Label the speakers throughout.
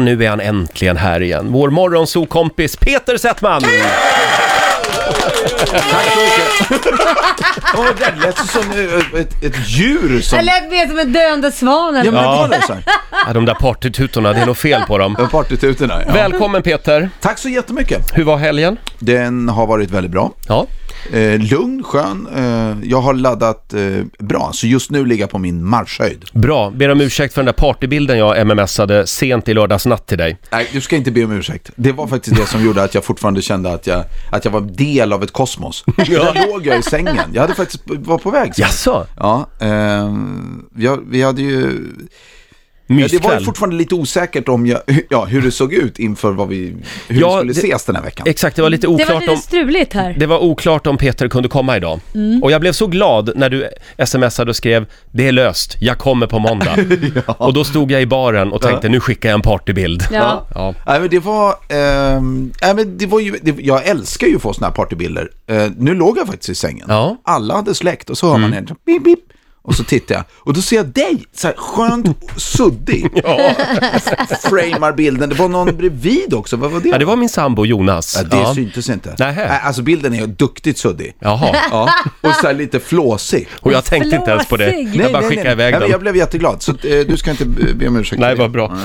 Speaker 1: Nu är han äntligen här igen. Vår morgonsokompis Peter Settman!
Speaker 2: Tack så mycket. Åh, det där lät ju som eh, ett, ett djur som...
Speaker 3: Jag lät mer som en döende svan.
Speaker 2: Ja,
Speaker 3: eller
Speaker 2: men det
Speaker 1: Ja.
Speaker 2: var det så här.
Speaker 1: Ja, de där partytutorna, det är nog fel på dem.
Speaker 2: Ja, Partytutorna, ja.
Speaker 1: Välkommen Peter!
Speaker 2: Tack så jättemycket.
Speaker 1: Hur var helgen?
Speaker 2: Den har varit väldigt bra.
Speaker 1: Ja,
Speaker 2: Eh, lugn, skön. Eh, jag har laddat eh, bra, så just nu ligger jag på min marschhöjd.
Speaker 1: bra. Ber om ursäkt för den där partybilden jag mmsade sent i lördags natt till dig.
Speaker 2: Nej, du ska inte be om ursäkt. Det var faktiskt det som gjorde att jag fortfarande kände att jag, att jag var del av ett kosmos. Där låg jag i sängen. Jag hade faktiskt var på väg.
Speaker 1: Jaså?
Speaker 2: Ja, eh, jag, vi hade ju... Ja, det var ju
Speaker 1: Myskväll?
Speaker 2: fortfarande lite osäkert om jag, ja, hur det såg ut inför vad vi, hur
Speaker 1: Ja,
Speaker 2: vi skulle
Speaker 1: det-
Speaker 2: ses den här veckan.
Speaker 1: Exakt, det var lite
Speaker 3: Det var
Speaker 1: oklart
Speaker 3: lite
Speaker 1: om...
Speaker 3: struligt här.
Speaker 1: Det var oklart om Peter kunde komma idag. Och jag blev så glad när du smsade och skrev “Det är löst, jag kommer på måndag”. Och då stod jag i baren och tänkte “Nu skickar jag en partybild”.
Speaker 3: Ja.
Speaker 1: Ja.
Speaker 2: Nej, men det var, ehm, nej, men det var ju, det, jag älskar ju att få sådana här partybilder. Eh, nu låg jag faktiskt i sängen.
Speaker 1: Ja. Mm.
Speaker 2: Alla hade släckt och så hör man en så, bip, bip, och så tittar jag och då ser jag dig, så här skönt suddig.
Speaker 1: Ja.
Speaker 2: Framar bilden, det var någon bredvid också, vad var det?
Speaker 1: ja, det var min sambo Jonas.
Speaker 2: Ja, det syntes inte.
Speaker 1: Nähä.
Speaker 2: Nej, alltså bilden är ju duktigt suddig.
Speaker 1: Jaha,
Speaker 2: Ja. Och så här lite flåsig.
Speaker 1: och jag tänkte inte ens på det.
Speaker 3: Flåsig.
Speaker 1: Jag bara skickade iväg
Speaker 2: nej, men
Speaker 1: den.
Speaker 2: Jag blev jätteglad, så att, eh, du ska inte eh, be om ursäkt.
Speaker 1: Nej,
Speaker 2: för det.
Speaker 1: vad bra.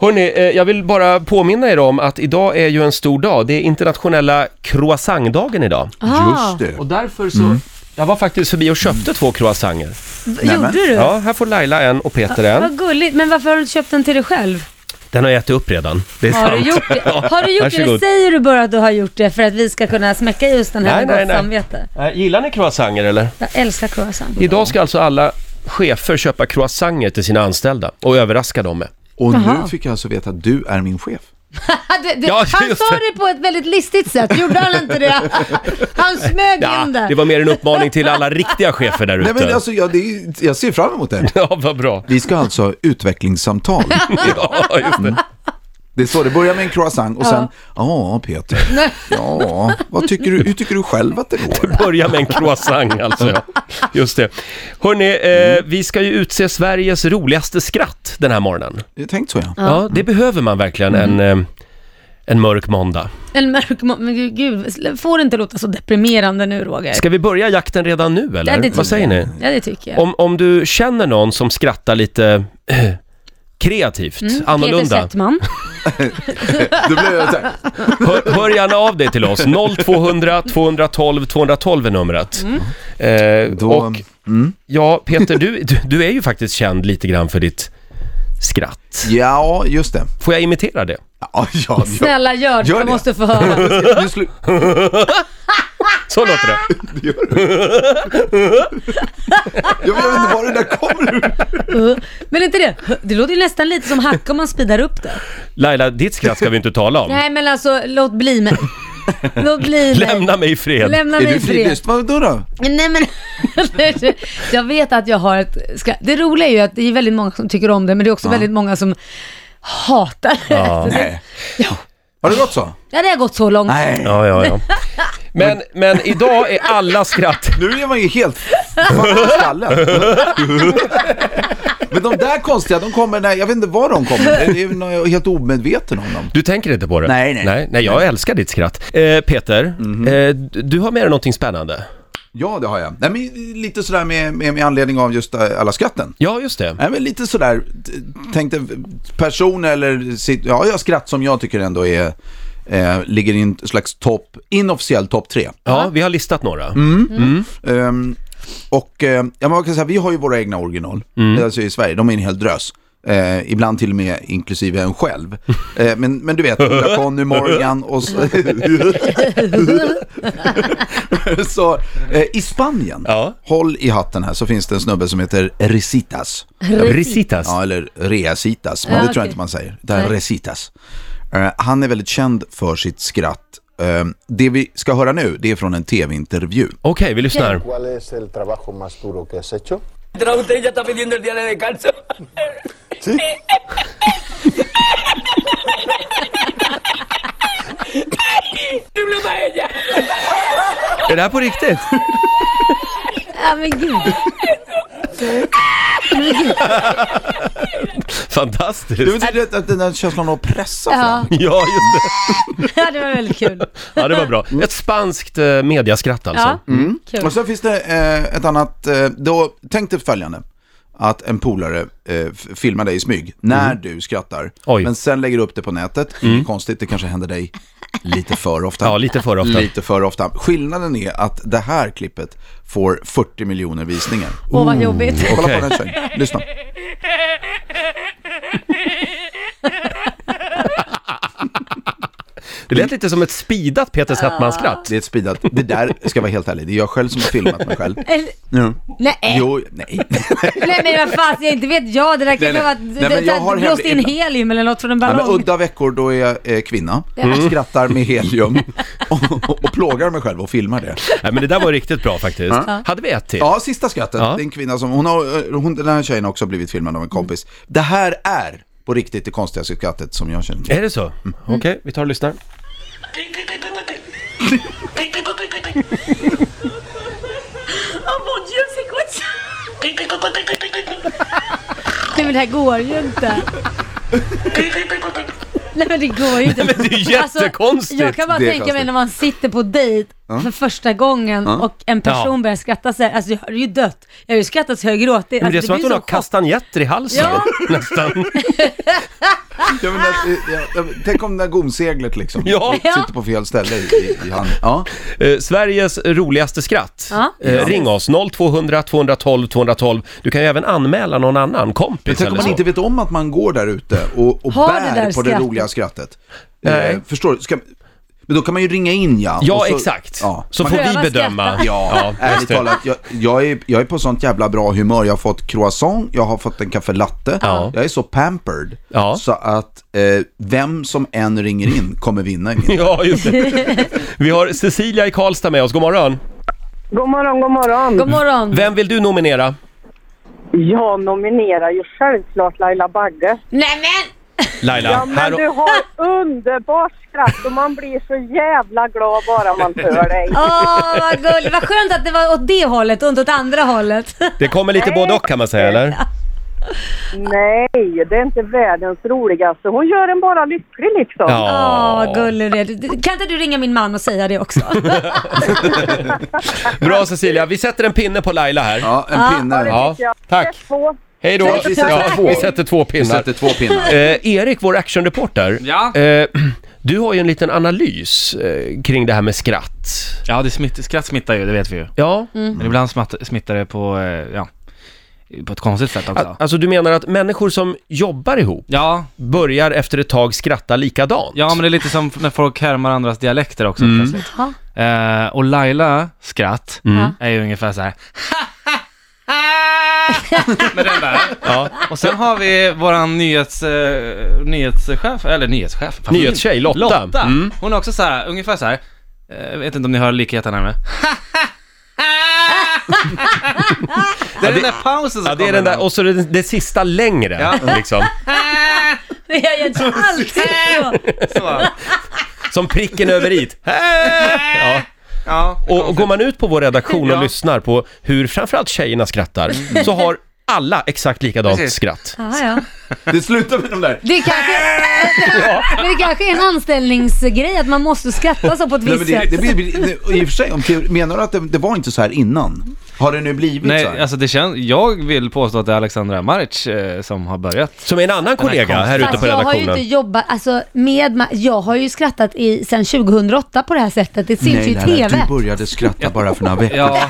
Speaker 1: Hörni, eh, jag vill bara påminna er om att idag är ju en stor dag. Det är internationella croissantdagen idag.
Speaker 3: Ah,
Speaker 2: Just det.
Speaker 1: Och därför så...
Speaker 2: Mm.
Speaker 1: Jag var faktiskt förbi och köpte två croissanter.
Speaker 3: v- Gjorde du?
Speaker 1: Ja, här får Laila en och Peter en.
Speaker 3: Vad gulligt. Men varför har du köpt den till dig själv?
Speaker 1: Den har jag ätit upp redan. Det är
Speaker 3: Har
Speaker 1: sant.
Speaker 3: du gjort det? Har du gjort det? Eller
Speaker 1: varsågod.
Speaker 3: säger du bara att du har gjort det för att vi ska kunna smäcka just den här
Speaker 1: Nej,
Speaker 3: med
Speaker 1: nej,
Speaker 3: gott
Speaker 1: nej.
Speaker 3: samvete?
Speaker 1: Nej, Gillar ni croissanter eller?
Speaker 3: Jag älskar croissant.
Speaker 1: Idag ska alltså alla chefer köpa croissanter till sina anställda och överraska dem med.
Speaker 2: Och nu
Speaker 3: Jaha.
Speaker 2: fick jag alltså veta att du är min chef.
Speaker 3: Ah, det- det-
Speaker 1: Ja,
Speaker 3: han
Speaker 1: just
Speaker 3: sa
Speaker 1: det.
Speaker 3: det på ett väldigt listigt sätt. Gjorde han inte det? Han smög
Speaker 1: Ja,
Speaker 3: in det.
Speaker 1: det var mer en uppmaning till alla riktiga chefer där
Speaker 2: Nej men
Speaker 1: ute.
Speaker 2: alltså, jag, det är, jag ser fram emot det.
Speaker 1: Ja, vad bra.
Speaker 2: Vi ska alltså ha utvecklingssamtal.
Speaker 1: Ja, just det.
Speaker 2: Det är så, det börjar med en croissant och sen, ja Peter, ja, vad tycker du, hur tycker du själv att det går?
Speaker 1: Börja med en croissant alltså. Ja. Just det. Hörni, eh, vi ska ju utse Sveriges roligaste skratt den här morgonen.
Speaker 2: Jag tänkt så ja.
Speaker 1: Ja, det behöver man verkligen
Speaker 3: Mm.
Speaker 1: en, eh, en mörk måndag.
Speaker 3: En mörk må- Men gud, gud, slä- får det inte låta så deprimerande nu Roger?
Speaker 1: Ska vi börja jakten redan nu
Speaker 3: Ja, det
Speaker 1: eller?
Speaker 3: tycker
Speaker 1: Vad säger ni?
Speaker 3: Ja, det tycker jag.
Speaker 1: Om, om du känner någon som skrattar lite eh, kreativt,
Speaker 3: Mm, Peter
Speaker 1: annorlunda,
Speaker 3: Settman.
Speaker 2: Då blev jag så här,
Speaker 1: hör, hör gärna av dig till oss. 0200 212 212 är numret.
Speaker 3: Mm.
Speaker 1: Eh,
Speaker 2: Då-
Speaker 1: och ja, Peter, du, du, du är ju faktiskt känd lite grann för ditt skratt.
Speaker 2: ja just det.
Speaker 1: Får jag imitera det?
Speaker 2: Ja, ja, ja.
Speaker 3: Snälla gör det,
Speaker 2: Gör
Speaker 3: jag
Speaker 2: det.
Speaker 3: måste få höra.
Speaker 2: Nu slu-
Speaker 1: Så låter det.
Speaker 2: Jag vet inte var det där kommer ur.
Speaker 3: Uh, Men inte det, det låter ju nästan lite som hacka om man speedar upp det.
Speaker 1: Laila, ditt skratt ska vi inte tala om.
Speaker 3: Nej men alltså, låt bli mig. Låt bli mig.
Speaker 1: Lämna mig i fred.
Speaker 3: Lämna
Speaker 2: Är
Speaker 3: mig
Speaker 2: du
Speaker 3: i fred.
Speaker 2: fridlyst? Vadå då?
Speaker 3: Nej men, jag vet att jag har ett skratt. Det roliga är ju att det är väldigt många som tycker om det, men det är också väldigt många som hatar det. Ja.
Speaker 2: Nej. Har det gått så?
Speaker 3: ja, det har gått så långt.
Speaker 2: Nej.
Speaker 1: Ja, ja, ja. Men, men idag är alla skratt...
Speaker 2: Nu är man ju helt fan i skallen. Men de där konstiga, de kommer när, jag vet inte var de kommer, det är ju när jag är helt omedveten om dem.
Speaker 1: Du tänker inte på det?
Speaker 2: Nej, nej.
Speaker 1: Nej, nej jag älskar ditt skratt. Eh, Peter, eh, d- du har med dig någonting spännande.
Speaker 2: Ja, det har jag. Nej, men lite sådär med, med, med anledning av just eh, alla skatten.
Speaker 1: Ja, just det.
Speaker 2: Nej, men lite sådär, t- tänkte personer eller, sitt- ja, jag skratt som jag tycker ändå är, eh, ligger i en slags topp, inofficiell topp tre.
Speaker 1: Ja, Mm. vi har listat några.
Speaker 2: Ehm, och eh, ja, men man kan säga, vi har ju våra egna original, alltså i Sverige, de är en hel drös. Eh, ibland till och med inklusive en själv. Eh, men, men du vet, Ola Conny, Morgan och så... så eh, I Spanien,
Speaker 1: Ja.
Speaker 2: håll i hatten här, så finns det en snubbe som heter Resitas.
Speaker 1: Risitas.
Speaker 2: Ja, eller Reasitas, men
Speaker 3: Ja,
Speaker 2: det tror jag
Speaker 3: okej.
Speaker 2: inte man säger. Det är
Speaker 3: Nej.
Speaker 2: Resitas. Eh, han är väldigt känd för sitt skratt. Eh, det vi ska höra nu, det är från en tv-intervju.
Speaker 1: Okej, vi lyssnar.
Speaker 4: ¿Cuál es el trabajo más duro que has hecho?
Speaker 5: Entra usted ya está pidiendo el día de descanso. ¿Sí? ¡Duro para ella!
Speaker 1: Är det här på riktigt?
Speaker 3: Ja, men gud.
Speaker 2: Det
Speaker 1: Fantastiskt!
Speaker 2: betyder att- att den där känslan av att pressa
Speaker 3: Ja,
Speaker 2: fram.
Speaker 1: Ja, just det.
Speaker 3: ja, det var väldigt kul.
Speaker 1: Ja, det var bra. Ett spanskt eh, mediaskratt alltså.
Speaker 3: Ja, kul.
Speaker 2: Och sen finns det eh, ett annat, eh, då, tänk dig följande. Att en polare eh, f- filmar dig i smyg när du skrattar.
Speaker 1: Mm. Oj. Mm.
Speaker 2: Men sen lägger du upp det på nätet. Inget konstigt, det kanske händer dig lite för ofta.
Speaker 1: Ja, lite för ofta.
Speaker 2: Lite för ofta. Skillnaden är att det här klippet får 40 miljoner visningar.
Speaker 3: Åh, vad jobbigt.
Speaker 2: Kolla
Speaker 1: Okej.
Speaker 2: på den tjejen, lyssna.
Speaker 1: Det lät lite som ett speedat Peter Settman-skratt.
Speaker 2: Det är ett speedat, det där ska jag vara helt ärlig, det är jag själv som har filmat mig själv.
Speaker 3: Eller-
Speaker 2: Mm.
Speaker 3: Nej,
Speaker 2: Jo, nej.
Speaker 3: nej men vad fan, jag inte vet jag. Det där kan
Speaker 2: Nej,
Speaker 3: ju vara
Speaker 2: nej. Nej, men jag
Speaker 3: att
Speaker 2: har
Speaker 3: du blåste in
Speaker 2: hemlig-
Speaker 3: helium eller något från en
Speaker 2: Nej, men
Speaker 3: ballong.
Speaker 2: udda veckor då är jag eh, kvinna,
Speaker 1: Mm.
Speaker 2: skrattar med helium och, och, och plågar mig själv och filmar det.
Speaker 1: Nej, men det där var riktigt bra faktiskt. Hade vi ett till?
Speaker 2: Ja, sista skrattet.
Speaker 1: Ja.
Speaker 2: Det är en kvinna som, hon har, eh, hon, den här tjejen har också blivit filmad av en kompis. Det här är på riktigt det konstigaste skrattet som jag känner.
Speaker 1: Är det så?
Speaker 2: Mm,
Speaker 1: Okej, vi tar och lyssnar.
Speaker 6: Oh mon dieu, c'est quoi ça
Speaker 3: Nej men det här går ju inte. Nej men det går ju inte. Alltså,
Speaker 1: Det är ju jättekonstigt!
Speaker 3: jag kan bara
Speaker 2: Det är
Speaker 3: tänka mig
Speaker 2: konstigt.
Speaker 3: när man sitter på dejt för första gången och en person
Speaker 1: Ja.
Speaker 3: börjar skratta så här, alltså jag har ju dött. Jag har ju skrattat så jag gråtit.
Speaker 1: Men det är
Speaker 3: Alltså,
Speaker 1: som att
Speaker 3: blir
Speaker 1: hon har
Speaker 3: chock.
Speaker 1: kastanjetter i halsen,
Speaker 3: Ja.
Speaker 1: nästan.
Speaker 2: Jag menar, eh, jag, jag, tänk om det där gomseglet liksom.
Speaker 1: Ja.
Speaker 2: Sitter på fel ställe i, i, i handen. Ja.
Speaker 1: Eh, Sveriges roligaste skratt.
Speaker 3: Ja.
Speaker 1: Eh, Ring oss, 0200 212 212. Du kan ju även anmäla någon annan
Speaker 2: Men
Speaker 1: kompis
Speaker 2: tänk om
Speaker 1: eller
Speaker 2: man
Speaker 1: så.
Speaker 2: inte vet om att man går där ute och, och
Speaker 3: Har det
Speaker 2: bär
Speaker 3: där
Speaker 2: på det
Speaker 3: skrattet.
Speaker 2: roliga skrattet.
Speaker 1: Nej.
Speaker 2: Eh, förstår du? Ska, men då kan man ju ringa in ja.
Speaker 1: Ja,
Speaker 2: Och så-
Speaker 1: exakt.
Speaker 2: Ja.
Speaker 1: Så
Speaker 2: Man
Speaker 1: får
Speaker 2: kan-
Speaker 1: vi
Speaker 3: Pröva
Speaker 1: bedöma.
Speaker 3: skratta.
Speaker 2: Ja, ärligt
Speaker 1: just det.
Speaker 2: talat. Jag, jag, är, jag är på sånt jävla bra humör. Jag har fått croissant, jag har fått en kaffe latte.
Speaker 1: Ja.
Speaker 2: Jag är så pampered.
Speaker 1: Ja.
Speaker 2: Så att eh, vem som än ringer in kommer vinna i min.
Speaker 1: Ja, just det. Vi har Cecilia i Karlstad med oss, god morgon.
Speaker 7: God morgon, god morgon.
Speaker 3: God morgon.
Speaker 1: Vem vill du nominera?
Speaker 7: Jag nominerar ju självklart Laila Bagge.
Speaker 3: Nej men!
Speaker 1: Laila,
Speaker 7: Ja, men du har underbart skratt och man blir så jävla glad bara man hör dig.
Speaker 3: Åh vad gulligt, vad skönt att det var åt det hållet och inte åt andra hållet.
Speaker 1: det kommer lite både och kan man säga, eller?
Speaker 7: Nej, det är inte världens roligaste. Hon gör en bara lycklig liksom.
Speaker 1: Ja.
Speaker 3: Åh vad gullig du är. Du- Kan inte du ringa min man och säga det också?
Speaker 1: Bra Cecilia, vi sätter en pinne på Laila här.
Speaker 2: Ja, en pinne.
Speaker 1: Ja. tack.
Speaker 7: Så,
Speaker 1: Hej då.
Speaker 2: Ja, vi sätter två.
Speaker 1: vi sätter två pinnar.
Speaker 2: Vi sätter två pinnar.
Speaker 1: Eh, Erik, vår actionreporter.
Speaker 8: Ja.
Speaker 1: Eh, du har ju en liten analys eh, kring det här med skratt.
Speaker 8: Ja, det smitt, skratt smittar ju, det vet vi ju.
Speaker 1: Ja,
Speaker 3: Mm.
Speaker 8: Men ibland smatt, smittar det på, eh, ja, på ett konstigt sätt också.
Speaker 1: A- alltså du menar att människor som jobbar ihop
Speaker 8: Ja,
Speaker 1: börjar efter ett tag skratta likadant?
Speaker 8: ja, men det är lite som när folk härmar andras dialekter också plötsligt.
Speaker 3: Ja.
Speaker 8: Eh, och Laila skratt
Speaker 1: Mm.
Speaker 8: är ju ungefär så här. Med den där.
Speaker 1: Ja.
Speaker 8: Och sen har vi våran nyhets, eh, nyhetschef, eller nyhetschef. fan,
Speaker 1: Nyhetstjej, Lotta.
Speaker 8: Lotta.
Speaker 1: Mm.
Speaker 8: Hon är också så här, ungefär så här. eh, Jag vet inte om ni hör likheten här med. det är den där pausen som
Speaker 1: Ja, det är
Speaker 8: kommer
Speaker 1: den där,
Speaker 8: ibland.
Speaker 1: och så det, det sista längre,
Speaker 8: Ja.
Speaker 1: liksom.
Speaker 3: Men jag gör inte alltid så.
Speaker 8: Så.
Speaker 1: Som pricken över i. Ja.
Speaker 8: Ja,
Speaker 1: Och, och går man ut på vår redaktion och
Speaker 8: Ja.
Speaker 1: lyssnar på hur framförallt tjejerna skrattar,
Speaker 3: Mm.
Speaker 1: så har alla exakt likadant
Speaker 8: Precis.
Speaker 1: skratt.
Speaker 3: Ja, ja.
Speaker 2: Det slutar med de där.
Speaker 3: Det kanske, men det kanske är en anställningsgrej att man måste skratta så på ett
Speaker 2: Nej,
Speaker 3: visst
Speaker 2: men det,
Speaker 3: sätt.
Speaker 2: det blir, det, I och för sig, om teori, menar du att det, det var inte så här innan? Har det nu blivit
Speaker 8: Nej,
Speaker 2: så här?
Speaker 8: alltså det känns, jag vill påstå att det är Alexandra Maric eh, som har börjat.
Speaker 1: Som är en annan kollega här ute
Speaker 3: Fast
Speaker 1: på
Speaker 3: jag har ju inte
Speaker 1: redaktionen.
Speaker 3: jobbat, alltså med, ma- jag har ju skrattat i, sen 2008 på det här sättet. Det syns ju i
Speaker 2: Laila,
Speaker 3: TV.
Speaker 2: du började skratta bara för några veckor
Speaker 8: Ja,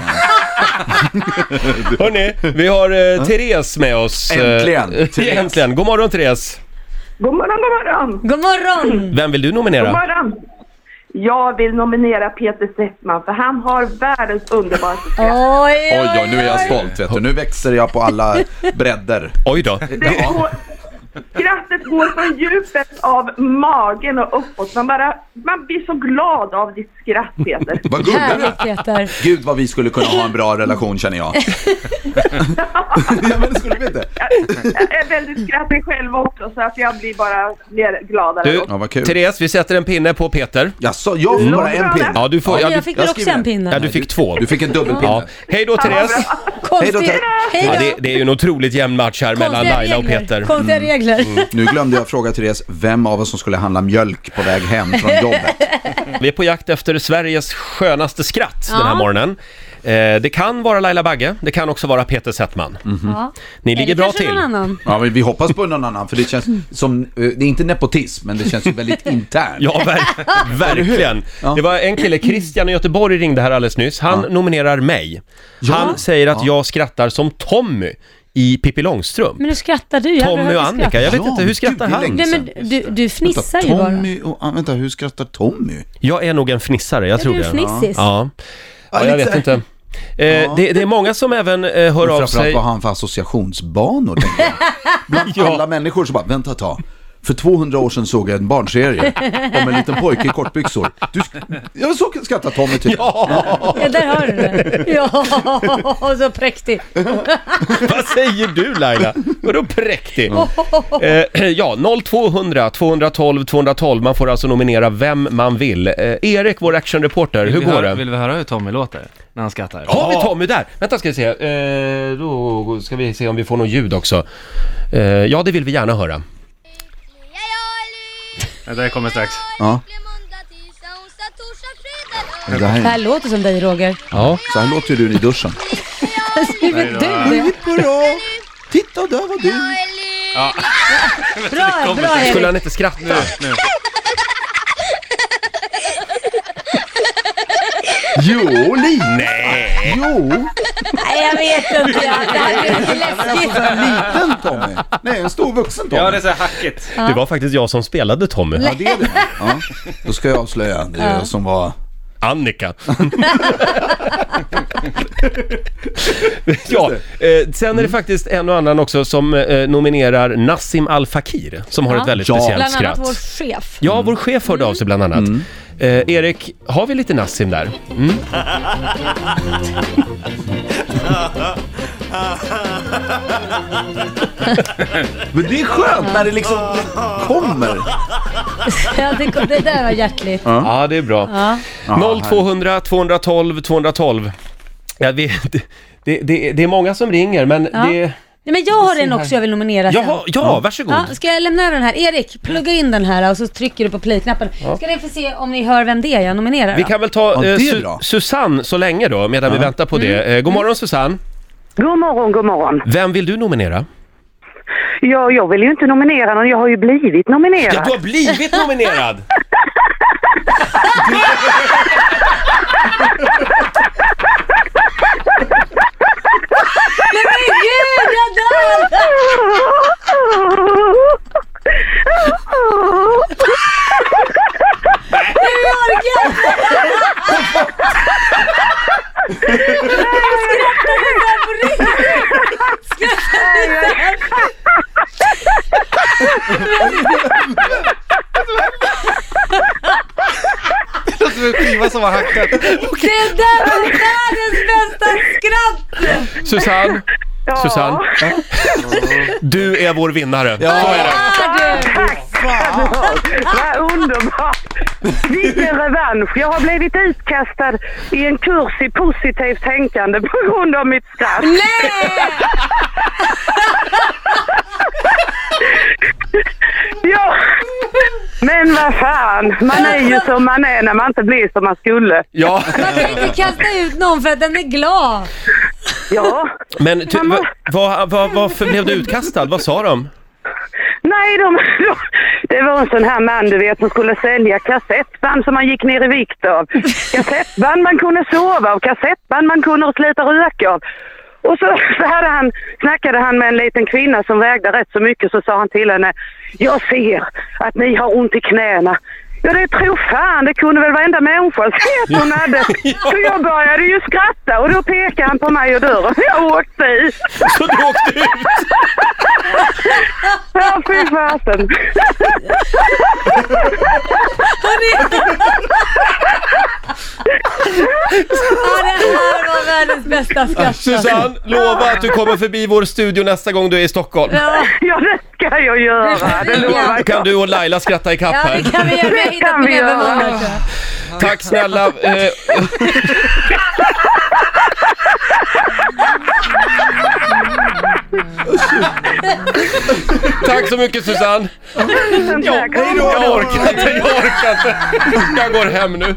Speaker 1: Hörni, vi har eh, Therese med oss. eh,
Speaker 2: Äntligen, Therese.
Speaker 1: Äntligen! God morgon Therese!
Speaker 7: god morgon, god morgon.
Speaker 3: God morgon!
Speaker 1: Vem vill du
Speaker 7: God
Speaker 1: nominera?
Speaker 7: morgon. Jag vill nominera Peter Settman för han har världens underbaraste skratt.
Speaker 3: Oj,
Speaker 2: Oj, oj, nu är jag stolt vet du. Nu växer jag på alla bredder.
Speaker 1: Oj då.
Speaker 7: Det går, skrattet går från djupet av magen och uppåt. Man, bara, man blir så glad av ditt skratt, Peter.
Speaker 2: Vad gulligt.
Speaker 3: Härligt Peter.
Speaker 2: Gud vad vi skulle kunna ha en bra relation känner jag. ja men det skulle vi inte.
Speaker 7: Jag är väldigt skrattig själv också, så att jag blir bara mer gladare.
Speaker 1: Du,
Speaker 2: Ja, vad kul.
Speaker 1: Therese, vi sätter en pinne på Peter.
Speaker 2: Jaså, jag får bara en pinne.
Speaker 1: Ja, du får... Ja,
Speaker 3: jag
Speaker 1: du,
Speaker 3: fick väl också
Speaker 2: skriver
Speaker 3: en
Speaker 2: det.
Speaker 1: ja,
Speaker 3: pinne.
Speaker 1: du fick två.
Speaker 2: Du fick en dubbelpinne.
Speaker 1: Ja. Hej då Therese!
Speaker 2: Hej
Speaker 3: Konstigt.
Speaker 2: då, Ted.
Speaker 3: Hej
Speaker 1: Ja,
Speaker 3: då.
Speaker 1: det, det är ju en otroligt jämn match här mellan
Speaker 3: Konstiga
Speaker 1: Laila och
Speaker 3: regler.
Speaker 1: Peter. Mm.
Speaker 3: Konstiga regler.
Speaker 2: Nu glömde jag fråga Therese vem av oss som skulle handla mjölk på väg hem från jobbet.
Speaker 1: Vi är på jakt efter Sveriges skönaste skratt den här
Speaker 3: Ja.
Speaker 1: morgonen. Eh, det kan vara Laila Bagge, det kan också vara Peter Settman.
Speaker 3: Ja.
Speaker 1: Ni Mm. ligger
Speaker 3: Mhm. Eller
Speaker 1: bra
Speaker 3: kanske
Speaker 1: till.
Speaker 3: Någon annan.
Speaker 2: Ja, men vi hoppas på någon annan, för det känns som, eh, det är inte nepotism, men det känns ju väldigt internt.
Speaker 1: Ja, ver- verkligen.
Speaker 2: Ja.
Speaker 1: Det var en kille, Christian i Göteborg ringde här alldeles nyss. Han nominerar mig. Han säger att jag skrattar som Tommy i Pippi Långstrump.
Speaker 3: Men nu skrattar du. Jag har aldrig
Speaker 1: Tommy och
Speaker 3: hört dig
Speaker 1: Annika,
Speaker 3: skratta.
Speaker 1: jag vet
Speaker 2: Ja,
Speaker 1: inte, hur skrattar
Speaker 2: gud, det är
Speaker 1: han?
Speaker 2: länge.
Speaker 3: Nej men du, du fnissar ju bara.
Speaker 2: Tommy och, ah, vänta, hur skrattar Tommy?
Speaker 1: Jag är nog en fnissare, jag
Speaker 3: Ja,
Speaker 1: tror
Speaker 3: du är
Speaker 1: det.
Speaker 3: fnissis.
Speaker 1: Ja, ja jag
Speaker 2: lite-
Speaker 1: vet inte. Eh, det, det är många som även eh, hör av sig.
Speaker 2: Framförallt vad har han för associationsbanor, tänker jag. Bland alla människor så bara, vänta ett tag. För 200 år sedan såg jag en barnserie om en liten pojke i kortbyxor. Du, sk- jag såg skrattar Tommy typ. till.
Speaker 3: Ja, där hör du det. Ja, så präktig.
Speaker 1: Vad säger du Laila? Vadå präktig? Eh, ja, 0200 212 212. Man får alltså nominera vem man vill. Eh, Erik, vår actionreporter, hur
Speaker 8: vi
Speaker 1: går
Speaker 8: höra,
Speaker 1: det?
Speaker 8: Vill vi höra hur Tommy låter när han skrattar?
Speaker 1: Har vi Tommy där? Vänta ska vi se. Eh, då ska vi se om vi får något ljud också. Eh, ja, det vill vi gärna höra.
Speaker 8: Det där kommer strax.
Speaker 2: Ja, det
Speaker 3: Det här
Speaker 2: här,
Speaker 3: låter som dig Roger.
Speaker 1: Ja.
Speaker 2: så här låter ju du i duschen.
Speaker 3: Hur vet du det?
Speaker 2: Bra! Titta, där var du!
Speaker 3: Bra, bra
Speaker 1: Skulle
Speaker 3: Erik.
Speaker 1: han inte skratta?
Speaker 2: Jo, Lina! Nej! Jo!
Speaker 3: Nej, jag vet inte. Det här blir lite
Speaker 1: Alltså,
Speaker 3: läskigt.
Speaker 2: Liten Tommy! Nej, en stor vuxen Tommy.
Speaker 8: Ja, det är så här hackigt.
Speaker 1: Det var faktiskt jag som spelade Tommy.
Speaker 2: Ja, det är det. Ja. Då ska jag avslöja det är jag som var...
Speaker 1: Annika. ja, eh, sen är
Speaker 2: Mm.
Speaker 1: det faktiskt en och annan också som eh, nominerar Nassim Al Fakir, som har
Speaker 3: Ja.
Speaker 1: ett väldigt
Speaker 2: Ja.
Speaker 1: speciellt
Speaker 3: Bland annat
Speaker 1: skratt.
Speaker 3: vår chef.
Speaker 1: Ja, vår chef hörde av sig bland annat.
Speaker 2: Mm.
Speaker 1: Eh, Erik, har vi lite Nassim där? Mm.
Speaker 2: Men det är skönt när det liksom kommer.
Speaker 3: Ja, det, det där var hjärtligt.
Speaker 1: Ja, det är bra.
Speaker 2: Ja,
Speaker 1: 0200 212 212. Ja, vi, det, det, det, det är många som ringer, men
Speaker 3: Ja.
Speaker 1: det...
Speaker 3: Nej, men jag har en också jag vill nominera sen.
Speaker 1: Jaha, ja, varsågod.
Speaker 3: Ja, ska jag lämna över den här? Erik, plugga in den här och så trycker du på play-knappen. Ska ni få se om ni hör vem det är jag nominerar?
Speaker 1: Vi
Speaker 3: då?
Speaker 1: kan väl ta
Speaker 2: Ja,
Speaker 1: eh,
Speaker 2: det är
Speaker 1: Su-
Speaker 2: bra.
Speaker 1: Susanne så länge då, medan vi väntar på det.
Speaker 3: Mm.
Speaker 1: Eh, god morgon Susanne!
Speaker 9: God morgon, god morgon.
Speaker 1: Vem vill du nominera?
Speaker 9: Ja, jag vill ju inte nominera någon, jag har ju blivit nominerad.
Speaker 1: har blivit nominerad!
Speaker 3: Nej men gud, jag dör! Nej, jag orkar inte! Jag skrattar så där på riktigt. Skrattar så där.
Speaker 8: Det är som en skiva som har hackat.
Speaker 3: Det är där var världens bästa skratt!
Speaker 1: Susanne! Susanne! Du är vår vinnare!
Speaker 3: Ah, du.
Speaker 9: Vad underbart! Vilken revansch! Jag har blivit utkastad i en kurs i positivt tänkande på grund av mitt skratt.
Speaker 3: Nej!
Speaker 9: Ja. Men vad fan, man är ju som man är när man inte blir som man skulle.
Speaker 1: Ja,
Speaker 3: Man kan inte kasta ut någon för att den är glad.
Speaker 9: Ja.
Speaker 1: men ty- va- va- va- varför blev du utkastad? Vad sa de?
Speaker 9: Nej, de, det var en sån här man du vet som skulle sälja kassettband som man gick ner i vikt av. Kassettband man kunde sova av, kassettband man kunde sluta röka av. Och så, så hade han, snackade han med en liten kvinna som vägde rätt så mycket så sa han till henne Jag ser att ni har ont i knäna. Ja det tror fan, det kunde väl varenda människa se att hon hade. Så jag började ju skratta och då pekade han på mig och dörren. Jag åkte ut.
Speaker 1: Så du åkte ut!
Speaker 9: Ja fy fasen.
Speaker 3: Ah, det här var världens bästa alltså. skratt.
Speaker 1: Susanne, lova att du kommer förbi vår studio nästa gång du är i Stockholm.
Speaker 3: Ja,
Speaker 9: Ja det ska jag göra, det lovar jag.
Speaker 1: Då kan du och Laila skratta i kapp
Speaker 3: ja,
Speaker 1: här.
Speaker 3: det kan vi göra. Vi har
Speaker 9: Det kan
Speaker 3: hittat på
Speaker 9: vi göra.
Speaker 3: övermånga tror jag.
Speaker 1: Tack snälla! Eh, Tack så mycket Susanne!
Speaker 9: Tusen tack.
Speaker 1: Jag orkar inte, jag orkar inte. Jag går hem nu.